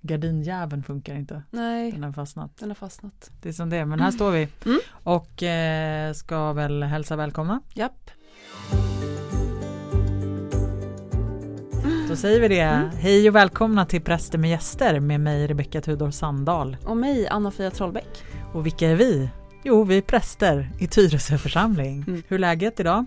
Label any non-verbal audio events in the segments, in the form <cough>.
Gardinjäveln funkar inte. Nej, Den har fastnat. den har fastnat. Det är som det är. Men här står vi. Mm. Och eh, ska väl hälsa välkomna. Japp. Mm. Då säger vi det. Hej och välkomna till Präster med gäster med mig Rebecka Tudor Sandahl. Och mig, Anna-Fia Trollbäck. Och vilka är vi? Jo, vi är präster i Tyresö församling. Mm. Hur är läget idag?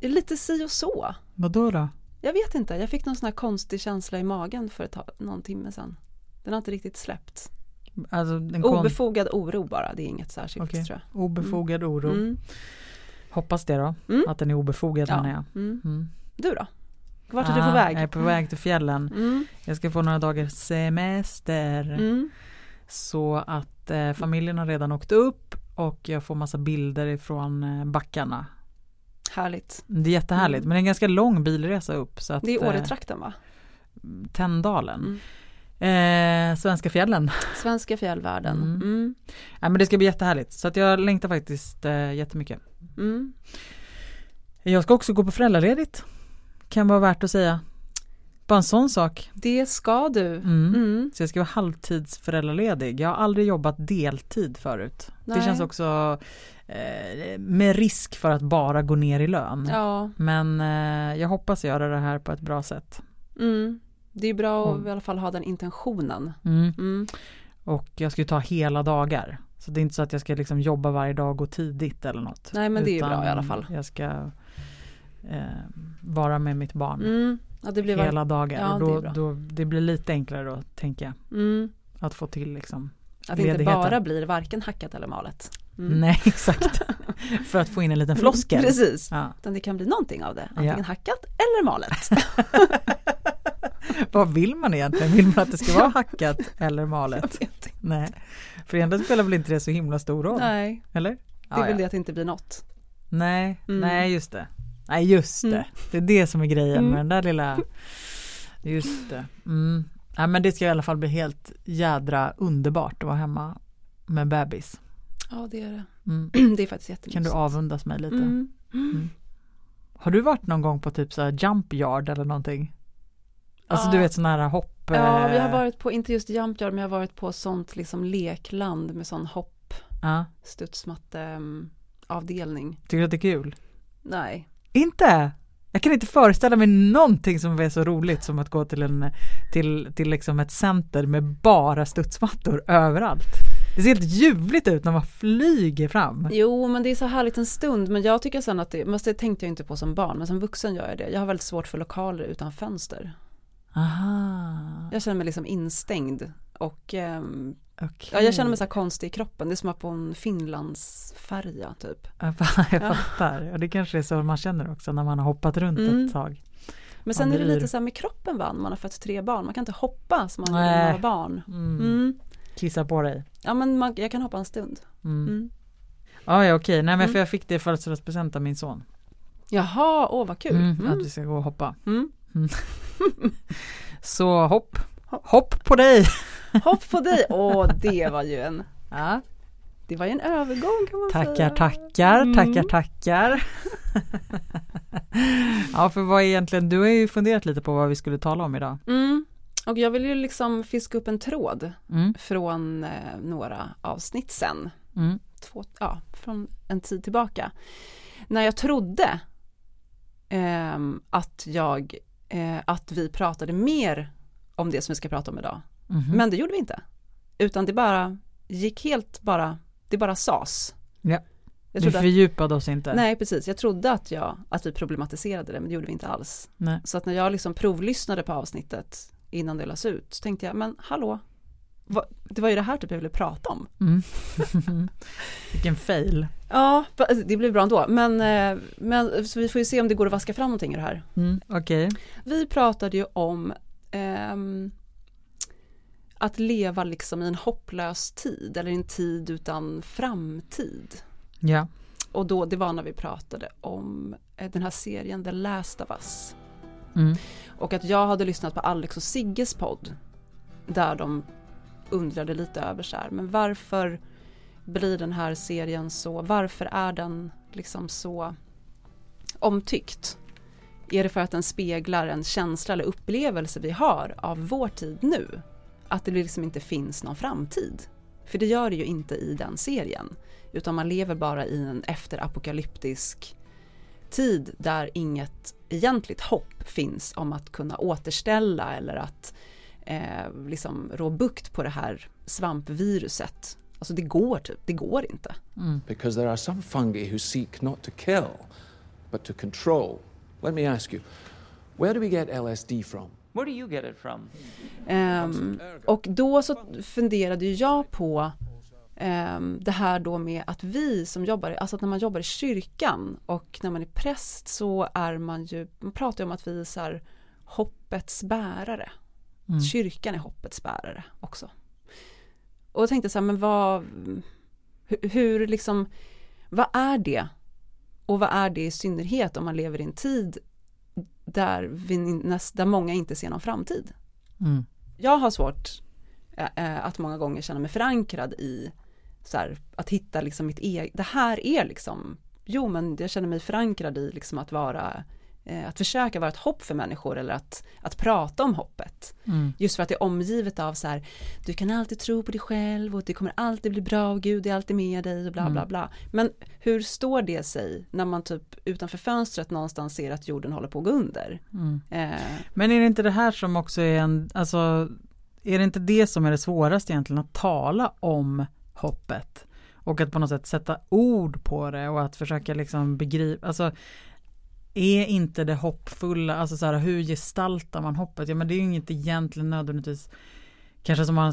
Det är Lite si och så. Vadå då? Jag vet inte, jag fick någon sån här konstig känsla i magen för ett tag, någon timme sedan. Den har inte riktigt släppt. Alltså, en kon- Obefogad oro bara, det är inget särskilt Okej. tror obefogad oro. jag. Mm. Hoppas det då. Mm. Att den är obefogad Ja. menar jag. Mm. Mm. Du då? Vart är du Ah, på väg? Jag är på väg till fjällen. Mm. Jag ska få några dagars semester. Mm. Så att eh, familjen har redan åkt upp och jag får massa bilder ifrån eh, backarna. Härligt. Det är jättehärligt Mm. men det är en ganska lång bilresa upp. Så att, Det är eh, Mm. Åretrakten va? Mm. Tänndalen. Eh, Svenska fjällen. <laughs> Svenska fjällvärlden. Mm. Mm. Nej, men det ska bli jättehärligt så att jag längtar faktiskt eh, jättemycket. Mm. Jag ska också gå på föräldraledigt. Kan vara värt att säga. Bara en sån sak. Det ska du. Mm. Mm. Så jag ska vara halvtidsföräldraledig. Jag har aldrig jobbat deltid förut. Nej. Det känns också eh, med risk för att bara gå ner i lön. Ja, Men eh, jag hoppas göra det här på ett bra sätt. mm. det är bra att Mm. i alla fall ha den intentionen. Mm. Mm. Och jag ska ju ta hela dagar. Så det är inte så att jag ska liksom jobba varje dag och gå tidigt eller något. Nej, men det är ju Utan bra i alla fall. Jag ska eh, vara med mitt barn Mm. Ja, det blir hela dagar. Ja, och det då, är bra. då, det blir lite enklare då tänker jag. var- mm. Att få till liksom. Att det inte Ledigheten. bara blir varken hackat eller malet. <laughs> Mm. Nej exakt. För att få in en liten floskel. <laughs> Precis, Ja. utan det kan bli någonting av det. Antingen Ja. hackat <laughs> eller malet. Vad vill man egentligen? Vill man att det <laughs> ska vara hackat eller malet? Nej. För egentligen spelar väl inte det så himla stor roll? Nej, Eller? det är väl det att det inte blir något. Nej, Mm. nej just det. Nej just det. Mm. Det är det som är grejen Mm. med den där lilla. Just det. Mm. Ja, men det ska i alla fall bli helt jädra underbart att vara hemma med bebis. Ja, det är det. Mm. <clears throat> Det är faktiskt jättemysigt. Kan du avundas mig lite? Mm. Har du varit någon gång på typ så här jump yard eller någonting? Alltså Ja. du vet sån här hopp. Ja, vi eh, har varit på, inte just jump yard, men jag har varit på sånt liksom lekland med sån hopp, Ja. studsmatte mm, avdelning. Tycker du att det är kul? Nej, Inte? Jag kan inte föreställa mig någonting som är så roligt som att gå till, en, till, till liksom ett center med bara studsmattor överallt. Det ser helt ljuvligt ut när man flyger fram. Jo men det är så härligt en stund men jag tycker sen att det, men det tänkte jag inte på som barn men som vuxen gör jag det. Jag har väldigt svårt för lokaler utan fönster. Aha, Jag känner mig liksom instängd och ehm, okej. ja, jag känner mig så här konstig i kroppen. Det är som att på en Finlands färja typ. <laughs> Jag fa- jag Ja. fattar. Ja. det kanske är så man känner också när man har hoppat runt Mm. ett tag. Men sen Ja, är det det är lite det. så här med kroppen va, när man har fött tre barn. Man kan inte hoppa som man gjorde när Nej. man var barn. Mm. Mm. Kissa på dig. Ja men man, jag kan hoppa en stund. Mm. Mm. Ja, ja okej, nej men Mm. för jag fick det i födelsedagspresent av min son. Jaha, åh vad kul. Mm, Mm. Att vi ska gå och hoppa. Mm. Så hopp, Hopp. hopp på dig! Hopp på dig, åh det var ju en, Ja. det var ju en övergång kan man Tackar, säga. tackar, tackar, Mm. tackar. <laughs> ja, för vad är egentligen, du har ju funderat lite på vad vi skulle tala om idag. Mm. Och jag vill ju liksom fiska upp en tråd Mm, från eh, några avsnitt sen, mm, två, ja, från en tid tillbaka. När jag trodde ehm, att, jag, eh, att vi pratade mer om det som vi ska prata om idag. mhm. Men det gjorde vi inte. Utan det bara gick helt bara, det bara sas. Ja. vi Jag trodde att, fördjupade oss inte. nej, precis. Jag trodde att, jag, att vi problematiserade det, men det gjorde vi inte alls. Nej. Så att när jag liksom provlyssnade på avsnittet innan det lades ut så tänkte jag, men hallå, vad, det var ju det här typ jag ville prata om. Mm. <laughs> Vilken fail. Ja, va- alltså, det blev bra ändå, men, eh, men så vi får ju se om det går att vaska fram någonting ur det här. Mm, Okej, Vi pratade ju om ehm, att leva liksom i en hopplös tid eller i en tid utan framtid. ja. Och då, det var när vi pratade om eh, den här serien The Last of Us. Mm. Och att jag hade lyssnat på Alex och Sigges podd. Där de undrade lite över så här, men varför blir den här serien så, varför är den liksom så omtyckt? Är det för att den speglar en känsla eller upplevelse vi har av vår tid nu? Att det liksom inte finns någon framtid? För det gör det ju inte i den serien. Utan man lever bara i en efterapokalyptisk tid där inget egentligt hopp finns om att kunna återställa eller att eh, liksom rå bukt på det här svampviruset. Alltså det går typ, det går inte. mm, because there are some fungi who seek not to kill, but to control. Let me ask you, where do we get LSD from? Where do you get it from? Ehm, och då så funderade ju jag på ehm, det här då med att vi som jobbar, alltså att när man jobbar i kyrkan och när man är präst så är man ju, man pratar ju om att vi är så här, hoppets bärare. Kyrkan är hoppets bärare också. Och jag tänkte så här, men vad, hur, hur liksom, vad är det? Och vad är det i synnerhet om man lever i en tid där, vi, näst, där många inte ser någon framtid? Mm. jag har svårt eh, eh, att många gånger känna mig förankrad i så här, att hitta liksom mitt eget, det här är liksom, jo men jag känner mig förankrad i liksom att vara, eh, att försöka vara ett hopp för människor eller att, att prata om hoppet. mm, Just för att det är omgivet av så här, du kan alltid tro på dig själv och det kommer alltid bli bra och Gud är alltid med dig och bla bla bla. Men hur står det sig när man typ utanför fönstret någonstans ser att jorden håller på att gå under? mm. Eh, Men är det inte det här som också är en, alltså är det inte det som är det svåraste egentligen att tala om hoppet? Och att på något sätt sätta ord på det och att försöka liksom begripa, alltså är inte det hoppfulla, alltså så här hur gestaltar man hoppet? Ja men det är ju inget egentligen nödvändigtvis kanske som man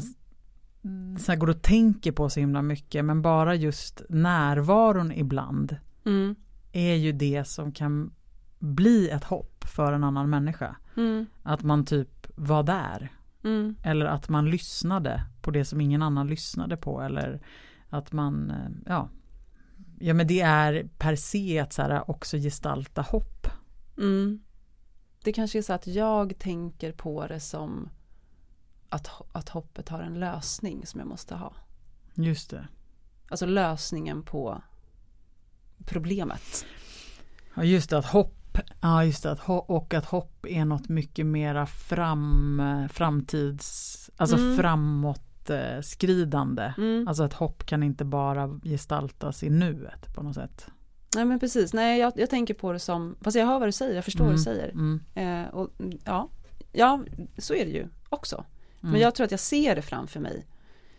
så här går och tänker på så himla mycket men bara just närvaron ibland mm, är ju det som kan bli ett hopp för en annan människa. mm, Att man typ var där. mm. Eller att man lyssnade på det som ingen annan lyssnade på. Eller att man, eh, ja. Ja men det är per se att så här, också gestalta hopp. Mm. Det kanske är så att jag tänker på det som att, ho- att hoppet har en lösning som jag måste ha. Just det. Alltså lösningen på problemet. Ja just det att hopp, ja just det att ho- och att hopp är något mycket mera fram, eh, framtids, alltså Mm. framåt eh, skridande. Mm. Alltså att hopp kan inte bara gestaltas i nuet på något sätt. Nej men precis, nej jag, jag tänker på det som, fast jag hör vad du säger, jag förstår vad du säger. Mm. Eh, och, mm, ja, ja, så är det ju också. Mm. Men jag tror att jag ser det framför mig.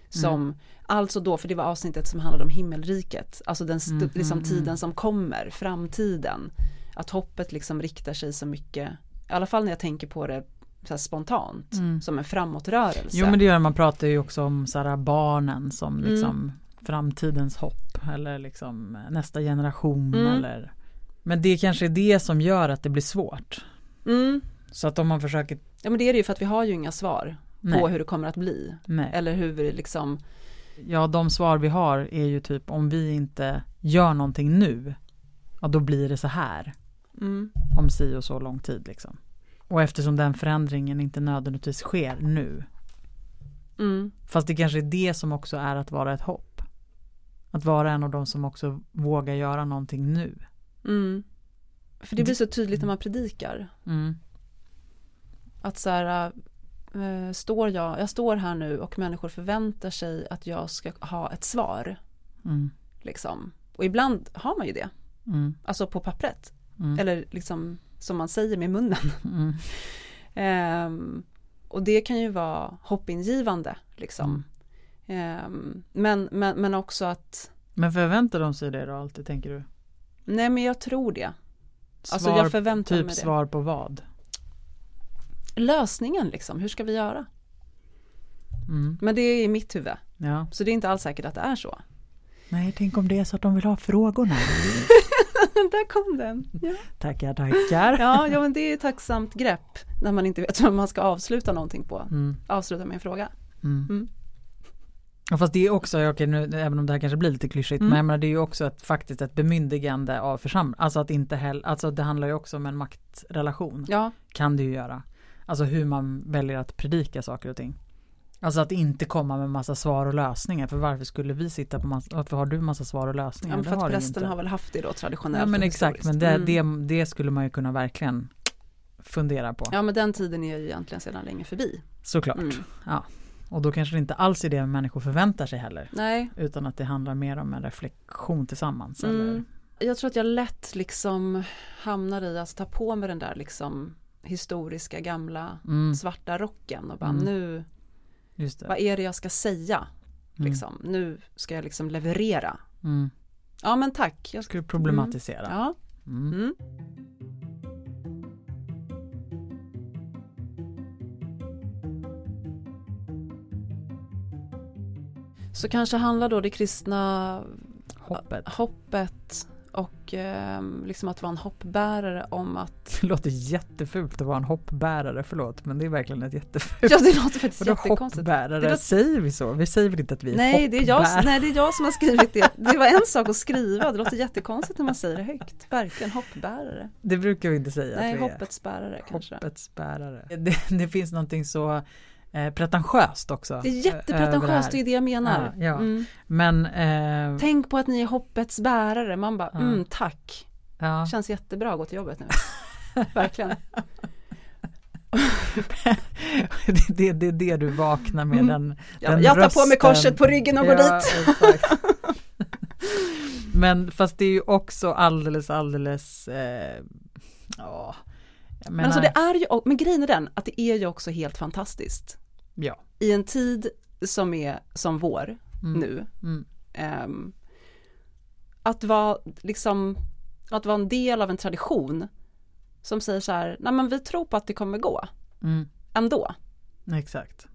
Som, alltså då, för det var avsnittet som handlade om himmelriket, alltså den Mm, st- liksom tiden som kommer, framtiden. Att hoppet liksom riktar sig så mycket, i alla fall när jag tänker på det så här spontant, Mm. som en framåtrörelse. Jo men det gör det. man pratar ju också om så här, barnen som liksom framtidens hopp eller liksom nästa generation eller Men det kanske är det som gör att det blir svårt. mm. Så att om man försöker ja men det är det ju för att vi har ju inga svar på Nej. hur det kommer att bli. Nej. Eller hur vi liksom, Ja de svar vi har är ju typ om vi inte gör någonting nu Ja då blir det så här mm, om si och så lång tid liksom. Och eftersom den förändringen inte nödvändigtvis sker nu mm, Fast det kanske är det som också är att vara ett hopp. Att vara en av de som också vågar göra någonting nu. mm. För det blir så tydligt när man predikar. Mm. Att så här, eh, står jag, jag står här nu och människor förväntar sig att jag ska ha ett svar. Mm. Liksom. Och ibland har man ju det, Mm. alltså på pappret. Mm. Eller liksom som man säger <laughs> med munnen. Mm. Ehm, och det kan ju vara hoppingivande liksom. Mm. Ehm, men, men, men också att, Men förväntar de sig det då alltid tänker du? nej men jag tror det. Svar, Alltså jag förväntar typ mig det. svar på vad? Lösningen liksom, hur ska vi göra? Mm. Men det är i mitt huvud, Ja. så det är inte alls säkert att det är så. Nej, tänk om det är så att de vill ha frågorna. Mm. <laughs> Där kom den. Ja. tackar, <laughs> tackar. Ja, ja, men det är ett tacksamt grepp när man inte vet vad man ska avsluta någonting på. Mm. Avsluta med en fråga. Ja, Fast det är också, okej, nu, även om det här kanske blir lite klyschigt, men jag menar, det är ju också ett, faktiskt ett bemyndigande av församlingen. Alltså att inte heller, alltså det handlar ju också om en maktrelation. Ja, kan det ju göra. Alltså hur man väljer att predika saker och ting. Alltså att inte komma med massa svar och lösningar. För varför skulle vi sitta på massa, varför har du massa svar och ja lösningar? men för det att har du ju prästen inte. har väl haft det då traditionellt. Ja men och exakt, men historiskt. det, Mm. det, det skulle man ju kunna verkligen funderar på. Ja men den tiden är ju egentligen sedan länge förbi. Såklart. Mm. Ja. Och då kanske det inte alls är det människor förväntar sig heller. Nej, Utan att det handlar mer om en reflektion tillsammans. Eller? Mm. Jag tror att jag lätt liksom hamnar i, alltså ta på mig den där liksom historiska gamla Mm, svarta rocken och bara Mm. nu, just det. vad är det jag ska säga? Mm. Liksom, nu ska jag liksom leverera. Mm. Ja men tack. Jag ska, Ska du problematisera? ja. Mm. Mm. Så kanske handlar då det kristna Hoppet. hoppet och ehm, liksom att vara en hoppbärare <laughs> om att Det låter jättefult att vara en hoppbärare, förlåt. Men det är verkligen ett jättefult. Ja det låter faktiskt Vadå jättekonstigt. hoppbärare? Det låter- Säger vi så? Vi säger väl inte att vi är Nej det, är jag, hoppbärare? nej det är jag som har <laughs> skrivit det. Det var en sak att skriva, det låter jättekonstigt när man säger det högt. Verkligen hoppbärare. Det brukar vi inte säga Nej att vi är. hoppets bärare kanske. Hoppets bärare. Det, det finns någonting så eh, pretentiöst också. Det är över jättepretentiöst, här. det är ju det jag menar. Ja, ja. Mm. Men, eh, Tänk på att ni är hoppets bärare, man bara Ja. mm tack. ja. Känns jättebra att gå till <laughs> jobbet nu. Verkligen. det, <laughs> det, det är det du vaknar med. Mm. Den, Jag, Den jag tar på mig rösten. korset på ryggen och går dit. exakt. <laughs> Men fast det är ju också alldeles, alldeles, eh, ja, jag Men menar, alltså det är ju, men grejen är den att det är ju också helt fantastiskt. ja. I en tid som är som vår Mm. nu, Mm. Ehm, att vara liksom, att vara en del av en tradition som säger så här, nej men vi tror på att det kommer gå Mm. ändå. Exakt.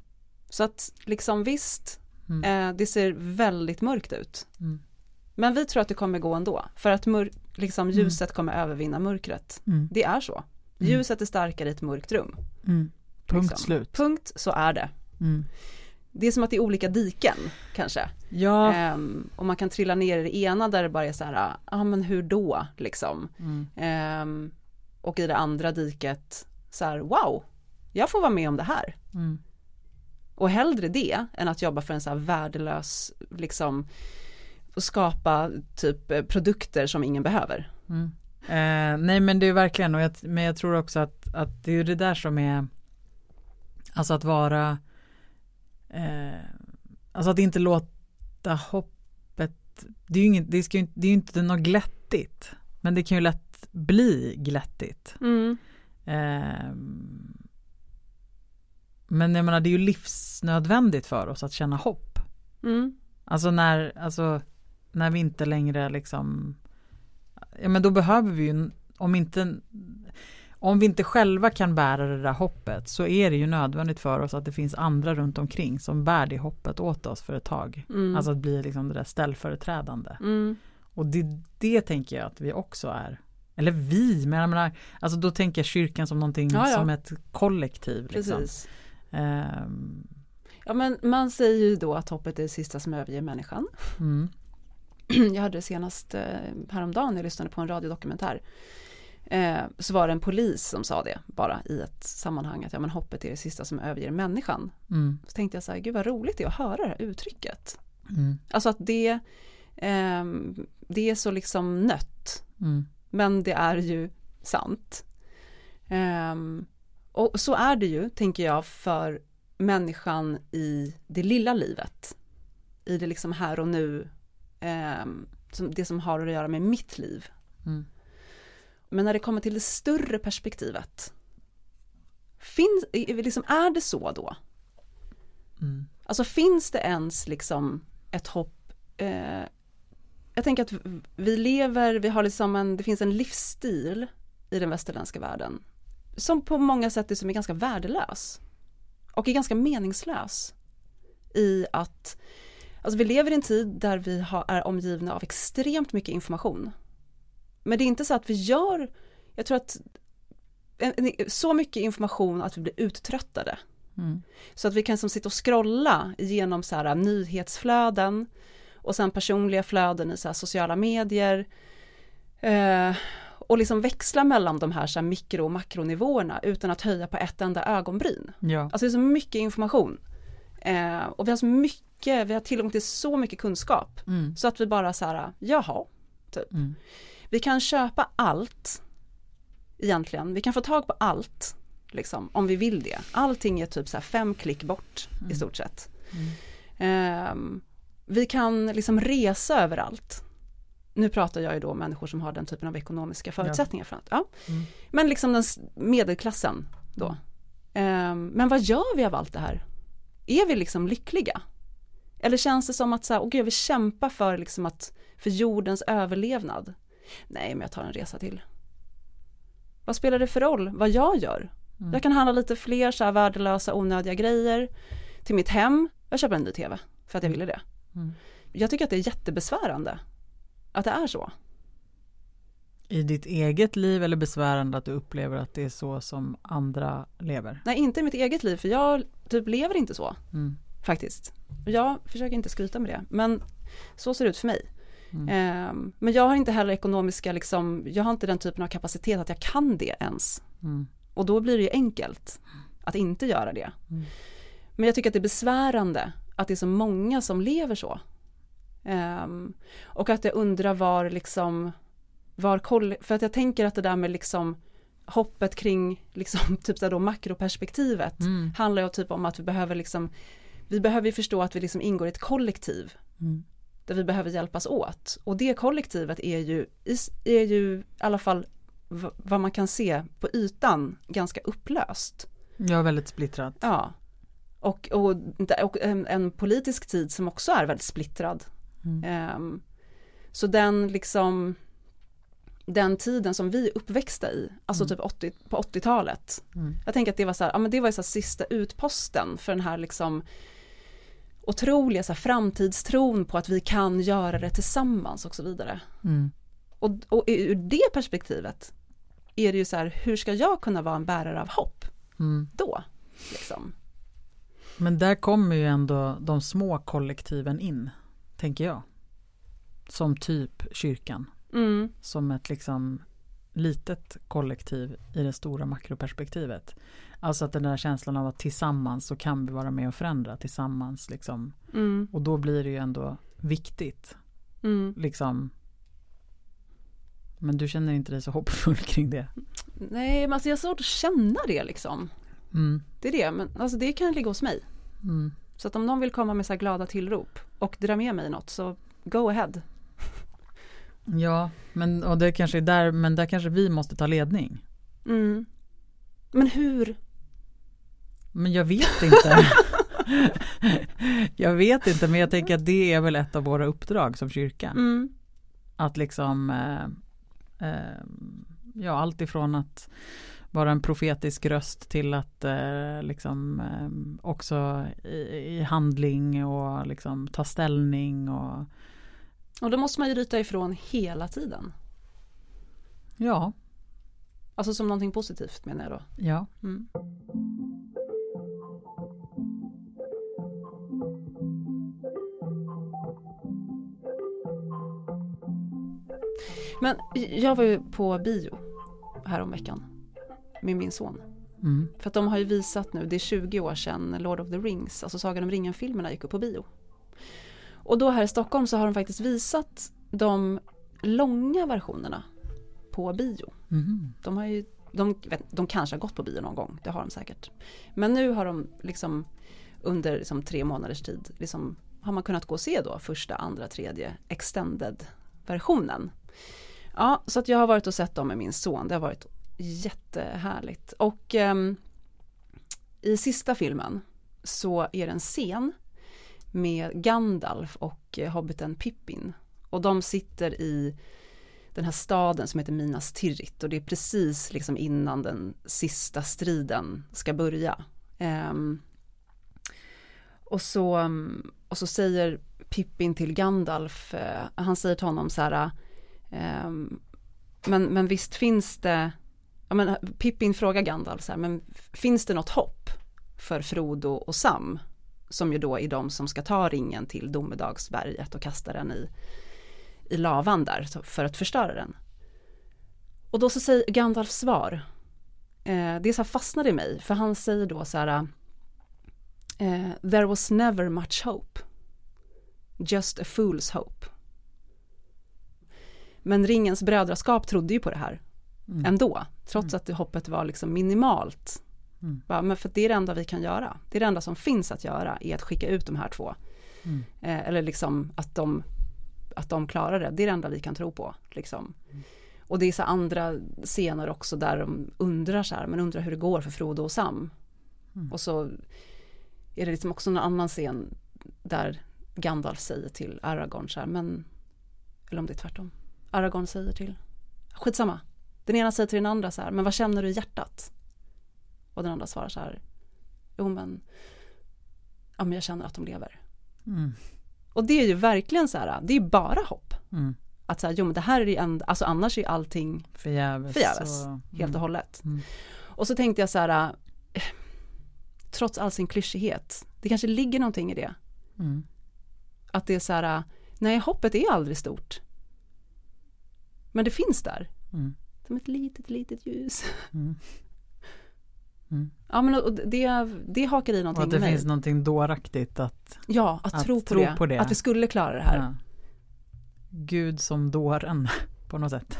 Så att liksom visst, Mm. eh, det ser väldigt mörkt ut. Mm. Men vi tror att det kommer gå ändå, för att mör- liksom ljuset kommer övervinna mörkret. Mm. Det är så. Ljuset är starkare i ett mörkt rum. Mm. Punkt Liksom. slut. Punkt, så är det. Mm. Det är som att det är olika diken kanske. Ja, Ehm, och man kan trilla ner i det ena där det bara är så här, ja ah, men hur då liksom. Mm. Ehm, och i det andra diket så här, wow, jag får vara med om det här. Mm. Och hellre det än att jobba för en så här värdelös, liksom, och skapa typ eh, produkter som ingen behöver. Mm. Eh, nej men det är verkligen och jag, men jag tror också att, att det är ju det där som är alltså att vara eh, alltså att inte låta hoppet det är ju inget, det, ska ju, inte- det är ju inte något glättigt men det kan ju lätt bli glättigt eh, men jag menar det är ju livsnödvändigt för oss att känna hopp Mm. Alltså när, alltså när vi inte längre liksom, ja men då behöver vi ju, om inte, om vi inte själva kan bära det där hoppet så är det ju nödvändigt för oss att det finns andra runt omkring som bär det hoppet åt oss för ett tag. Mm. Alltså att bli liksom det där ställföreträdande. Mm. Och det, det tänker jag att vi också är. Eller vi, men jag menar, alltså då tänker jag kyrkan som någonting, Ja, ja. som ett kollektiv. Liksom. Precis. Ehm, Ja men man säger ju då att hoppet är det sista som överger människan. <clears throat> mm, jag hörde det senast eh, häromdagen, jag lyssnade på en radiodokumentär, eh, så var det en polis som sa det bara i ett sammanhang att ja, men hoppet är det sista som överger människan. mm, Så tänkte jag så här, gud vad roligt det är att höra det här uttrycket. mm, Alltså att det, ehm, det är så liksom nött, mm, men det är ju sant. Ehm, och så är det ju, tänker jag, för människan i det lilla livet. I det liksom här och nu, ehm, som, det som har att göra med mitt liv. mm. Men när det kommer till det större perspektivet, finns, är, är- liksom, är det så då? Mm. Alltså finns det ens liksom ett hopp? Eh, jag tänker att v- vi lever, vi har liksom en, det finns en livsstil i den västerländska världen som på många sätt är, som är ganska värdelös och är ganska meningslös i att Alltså vi lever i en tid där vi har, är omgivna av extremt mycket information. Men det är inte så att vi gör, jag tror att en, en, så mycket information att vi blir uttröttade. Mm. Så att vi kan som sitta och scrolla genom så här äh, nyhetsflöden och sen personliga flöden i så här sociala medier. Eh, och liksom växla mellan de här, så här mikro och makronivåerna utan att höja på ett enda ögonbryn. Ja. Alltså det är så mycket information. Eh, och vi har så mycket, vi har tillgång till så mycket kunskap. Mm. Så att vi bara så här, jaha, typ. Mm. Vi kan köpa allt egentligen. Vi kan få tag på allt, liksom, om vi vill det. Allting är typ så här fem klick bort Mm. i stort sett. Ehm, vi kan liksom resa överallt. Nu pratar jag ju då om människor som har den typen av ekonomiska förutsättningar. För att, ja. Mm. Men liksom den s- medelklassen då. Ehm, men vad gör vi av allt det här? Är vi liksom lyckliga? Eller känns det som att så här, åh gud, jag vill kämpa för, liksom att, för jordens överlevnad? Nej, men jag tar en resa till. Vad spelar det för roll vad jag gör? Jag kan handla lite fler så här värdelösa, onödiga grejer till mitt hem. Jag köper en ny tv för att jag ville det. Mm. Jag tycker att det är jättebesvärande att det är så. I ditt eget liv eller besvärande att du upplever att det är så som andra lever? Nej, inte i mitt eget liv, för jag typ lever inte så Mm. faktiskt. Och Jag försöker inte skryta med det, men så ser det ut för mig. Ehm, men jag har inte heller ekonomiska, liksom, jag har inte den typen av kapacitet att jag kan det ens. Mm. Och då blir det ju enkelt att inte göra det. Men jag tycker att det är besvärande att det är så många som lever så. Ehm, och att jag undrar var liksom, var koll, för att jag tänker att det där med liksom hoppet kring liksom <laughs> typ där då makroperspektivet Mm. handlar ju typ om att vi behöver liksom, vi behöver ju förstå att vi liksom ingår i ett kollektiv Mm. där vi behöver hjälpas åt. Och det kollektivet är ju, is- är ju i alla fall v- vad man kan se på ytan ganska upplöst. Jag är väldigt splittrad. Ja. Och, och, och en, en politisk tid som också är väldigt splittrad. Ehm, så den liksom den tiden som vi är uppväxta i, alltså typ 80, på 80-talet. Jag tänker att det var så här, ja men det var ju så här sista utposten för den här liksom otroliga så här framtidstron på att vi kan göra det tillsammans och så vidare. Mm. Och, och ur det perspektivet är det ju så här, hur ska jag kunna vara en bärare av hopp Mm. då? Liksom. Men där kommer ju ändå de små kollektiven in, tänker jag. Som typ kyrkan, Mm. som ett liksom litet kollektiv i det stora makroperspektivet. Alltså att den där känslan av att tillsammans så kan vi vara med och förändra tillsammans liksom. Mm, Och då blir det ju ändå viktigt mm. liksom. Men du känner inte dig så hoppfull <laughs> kring det? Nej, men alltså jag har svårt att känna det liksom. Mm. Det är det, men alltså det kan ligga hos mig. Mm. Så att om någon vill komma med så här glada tillrop och dra med mig i något så go ahead. Ja, men, och det kanske är där, men där kanske vi måste ta ledning. Mm. Men hur? Men jag vet inte. <laughs> jag vet inte, men jag tänker att det är väl ett av våra uppdrag som kyrka. Mm. Att liksom, eh, eh, ja allt ifrån att vara en profetisk röst till att eh, liksom eh, också i, i handling och liksom ta ställning och Och då måste man ju ryta ifrån hela tiden. ja, Alltså som någonting positivt menar jag då. ja. Mm. Men jag var ju på bio häromveckan med min son. Mm. För att de har ju visat nu, det är 20 år sedan Lord of the Rings, alltså Sagan om ringen-filmerna gick upp på bio. Och då här i Stockholm så har de faktiskt visat de långa versionerna på bio. Mhm. De har ju, de, jag vet, de kanske har gått på bio någon gång, det har de säkert. Men nu har de liksom under liksom tre månaders tid liksom, har man kunnat gå och se då första, andra, tredje extended-versionen. Ja, så att jag har varit och sett dem med min son, det har varit jättehärligt. Och ehm, i sista filmen så är det en scen med Gandalf och eh, hobbiten Pippin. Och de sitter i den här staden som heter Minas Tirith och det är precis liksom innan den sista striden ska börja. Ehm, och, så, mm, och så säger Pippin till Gandalf, eh, han säger till honom så här, ehm, men, men visst finns det, ja, men, Pippin frågar Gandalf så här, men f- finns det något hopp för Frodo och Sam? Som ju då är de som ska ta ringen till Domedagsberget och kasta den i i lavan där så- för att förstöra den. Och då så säger Gandalfs svar, eh, det så här fastnade i mig, för han säger då så här, eh, there was never much hope, just a fool's hope. Men ringens brödraskap trodde ju på det här ändå, trots att det hoppet var liksom minimalt. Mm. Bara, men för det är det enda vi kan göra. Det är det enda som finns att göra, är att skicka ut de här två. Mm. Eh, eller liksom att de, att de klarar det, det är det enda vi kan tro på. Liksom. Och det är så andra scener också där de undrar så här, men undrar hur det går för Frodo och Sam. Och så är det liksom också någon annan scen där Gandalf säger till Aragorn så här, men, eller om det är tvärtom. Aragorn säger till, skitsamma. Den ena säger till den andra så här, men vad känner du i hjärtat? Och den andra svarar så här, jo men, ja men jag känner att de lever. Mm. Och det är ju verkligen så här, det är ju bara hopp. Mm. Att så här, jo men det här är ju en, alltså annars är ju allting Förgäves. Förgäves. och- helt och hållet. Mm. Och så tänkte jag så här, eh, trots all sin klyschighet, det kanske ligger någonting i det. Mm. Att det är så här, nej hoppet är aldrig stort. Men det finns där. Mm. Som ett litet, litet ljus. <laughs> Mm. Mm. Ja men och- och det, det hakar i Och någonting att det med mig. finns någonting dåraktigt att Ja, att, att tro, på, tro det. på det. Att vi skulle klara det här. Ja, ja. Gud som dåren <laughs> på något sätt.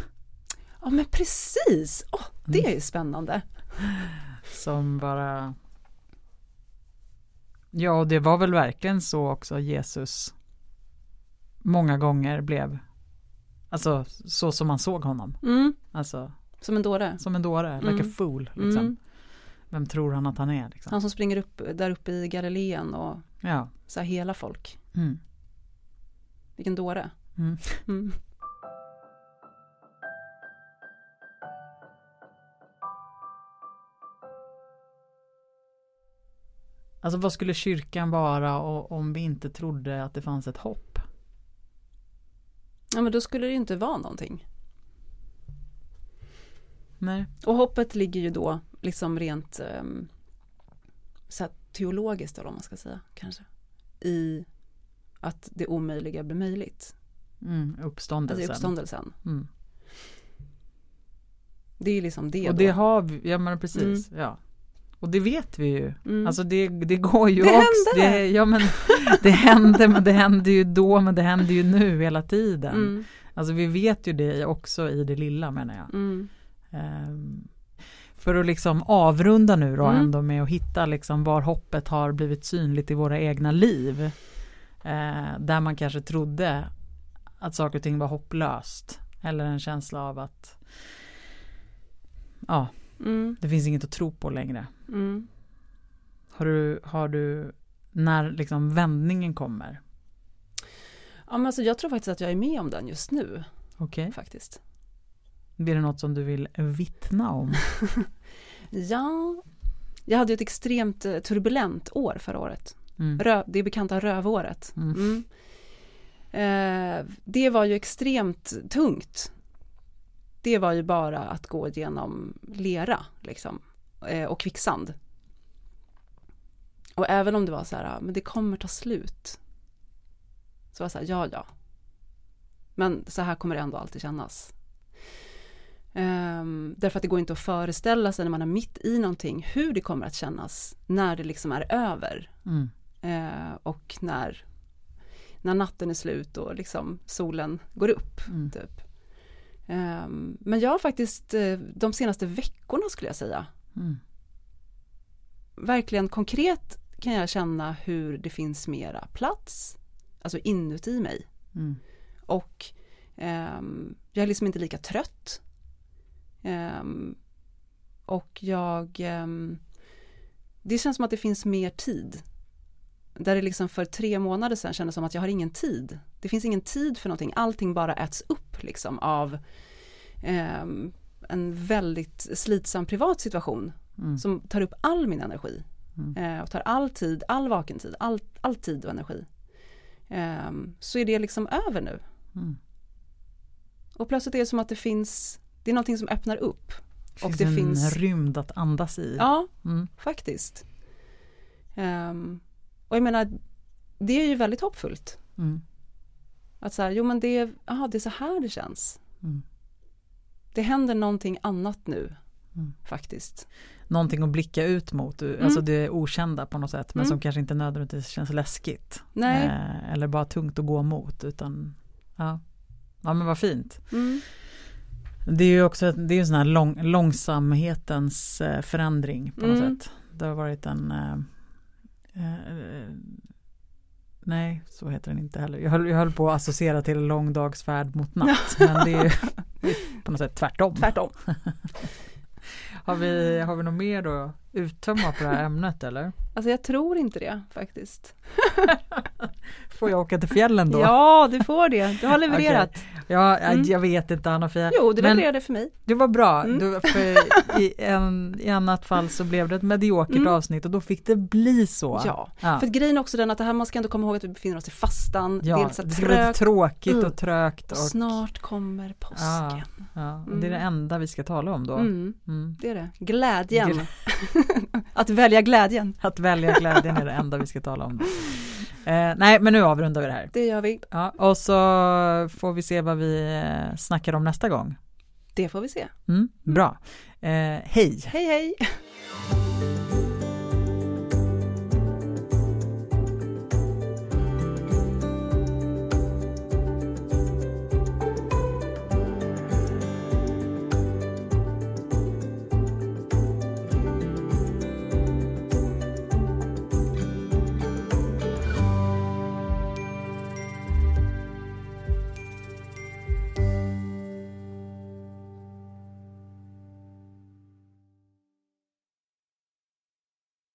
men precis. Åh, det Mm. är ju spännande. Som bara Ja, och det var väl verkligen så också Jesus många gånger blev Alltså så som man såg honom. Mm, Alltså som en dåre. som en dåre, like a Mm. fool. Liksom. Mm. Vem tror han att han är? Liksom? Han som springer upp där uppe i Galileen och Ja. så här hela folk. Mm. Vilken dåre. Mm. Mm. Alltså vad skulle kyrkan vara och, om vi inte trodde att det fanns ett hopp? Ja men då skulle det ju inte vara någonting. Nej. Och hoppet ligger ju då liksom rent ehm, så här teologiskt eller vad man ska säga kanske. I att det omöjliga blir möjligt. Mm, Alltså i uppståndelsen. uppståndelsen. Mm. Det är ju liksom det Och då. det har vi, ja men precis, ja. Och det vet vi ju. Mm. Alltså det, det går ju Det också. hände! Det, ja, men, <laughs> det hände, men det hände ju då, men det händer ju nu hela tiden. mm, Alltså vi vet ju det också i det lilla menar jag. mm, Ehm, för att liksom avrunda nu då Mm. ändå med att hitta liksom var hoppet har blivit synligt i våra egna liv. Eh, där man kanske trodde att saker och ting var hopplöst. Eller en känsla av att ja, mm, det finns inget att tro på längre. mm. Har du, har du när liksom vändningen kommer? Ja men alltså jag tror faktiskt att jag är med om den just nu Okej. faktiskt. Blir det något som du vill vittna om? Ja, jag hade ju ett extremt eh, turbulent år förra året. Mm. Rö- det bekanta rövåret. Mm. Mm. Eh, det var ju extremt tungt. Det var ju bara att gå genom lera liksom, eh, och kvicksand. Och även om det var så här, ah, men det kommer ta slut. Så var det så här, ja ja. Men så här kommer det ändå alltid kännas. Ehm, därför att det går inte att föreställa sig när man är mitt i någonting hur det kommer att kännas när det liksom är över. Mm. Eh, och när, när natten är slut och liksom solen går upp. Mm. Typ. Eh, men jag har faktiskt eh, de senaste veckorna skulle jag säga, Mm. verkligen konkret kan jag känna hur det finns mera plats, alltså inuti mig. Mm. Och ehm, jag är liksom inte lika trött. Ehm, och jag... ehm, det känns som att det finns mer tid. Där det liksom för tre månader sedan kändes som att jag har ingen tid. Det finns ingen tid för någonting. Allting bara äts upp liksom av ehm, en väldigt slitsam privat situation Mm. som tar upp all min energi. Mm. Eh, och tar all tid, all vaken tid, all, all tid och energi. Ehm, så är det liksom över nu. Mm. Och plötsligt är det som att det finns, det är någonting som öppnar upp. Och det en finns, rymd att andas i. ja Mm. faktiskt. Ehm, och jag menar, det är ju väldigt hoppfullt. Mm. Att så här, jo men det är, aha, det är så här det känns. Mm. Det händer någonting annat nu, Mm. faktiskt. Någonting att blicka ut mot, alltså det okända på något sätt men Mm. som kanske inte nödvändigtvis känns läskigt. Nej. Eh, eller bara tungt att gå mot utan ja. ja men vad fint. Mm. Det är ju också det är ju en sån här lång, långsamhetens eh, förändring på något Mm. sätt. Det har varit en... eh, eh, nej, så heter den inte heller. Jag höll, jag höll på att associera till lång dags färd mot <laughs> natt. men det är ju <laughs> på något sätt tvärtom. Tvärtom. Har, vi, har vi något mer då att uttömma på det här ämnet eller? Alltså jag tror inte det <laughs> faktiskt. Får jag åka till fjällen då? Ja, du får det. Du har levererat. Ja, jag, Mm. jag vet inte Anna-Fia. Jo, du Men- levererade för mig. Det var bra, Mm. du, för i, en, i annat fall så blev det ett mediokert Mm. avsnitt och då fick det bli så. Ja. Ja. För att grejen är också den att det här, man ska ändå komma ihåg att vi befinner oss i fastan. Ja, det är lite så här ska bli lite trögt. tråkigt Mm. och trögt. Och, Och snart kommer påsken. ja, och Det är det Mm. enda vi ska tala om då. Mm, Mm. det är det. Glädjen. <laughs> att välja glädjen. Att välja glädjen är det enda vi ska tala om. Då. Eh, nej, men nu avrundar vi det här. Det gör vi. Ja, och så får vi se vad vi eh, snackar om nästa gång. Det får vi se. Mm, bra. Eh, hej! Hej hej!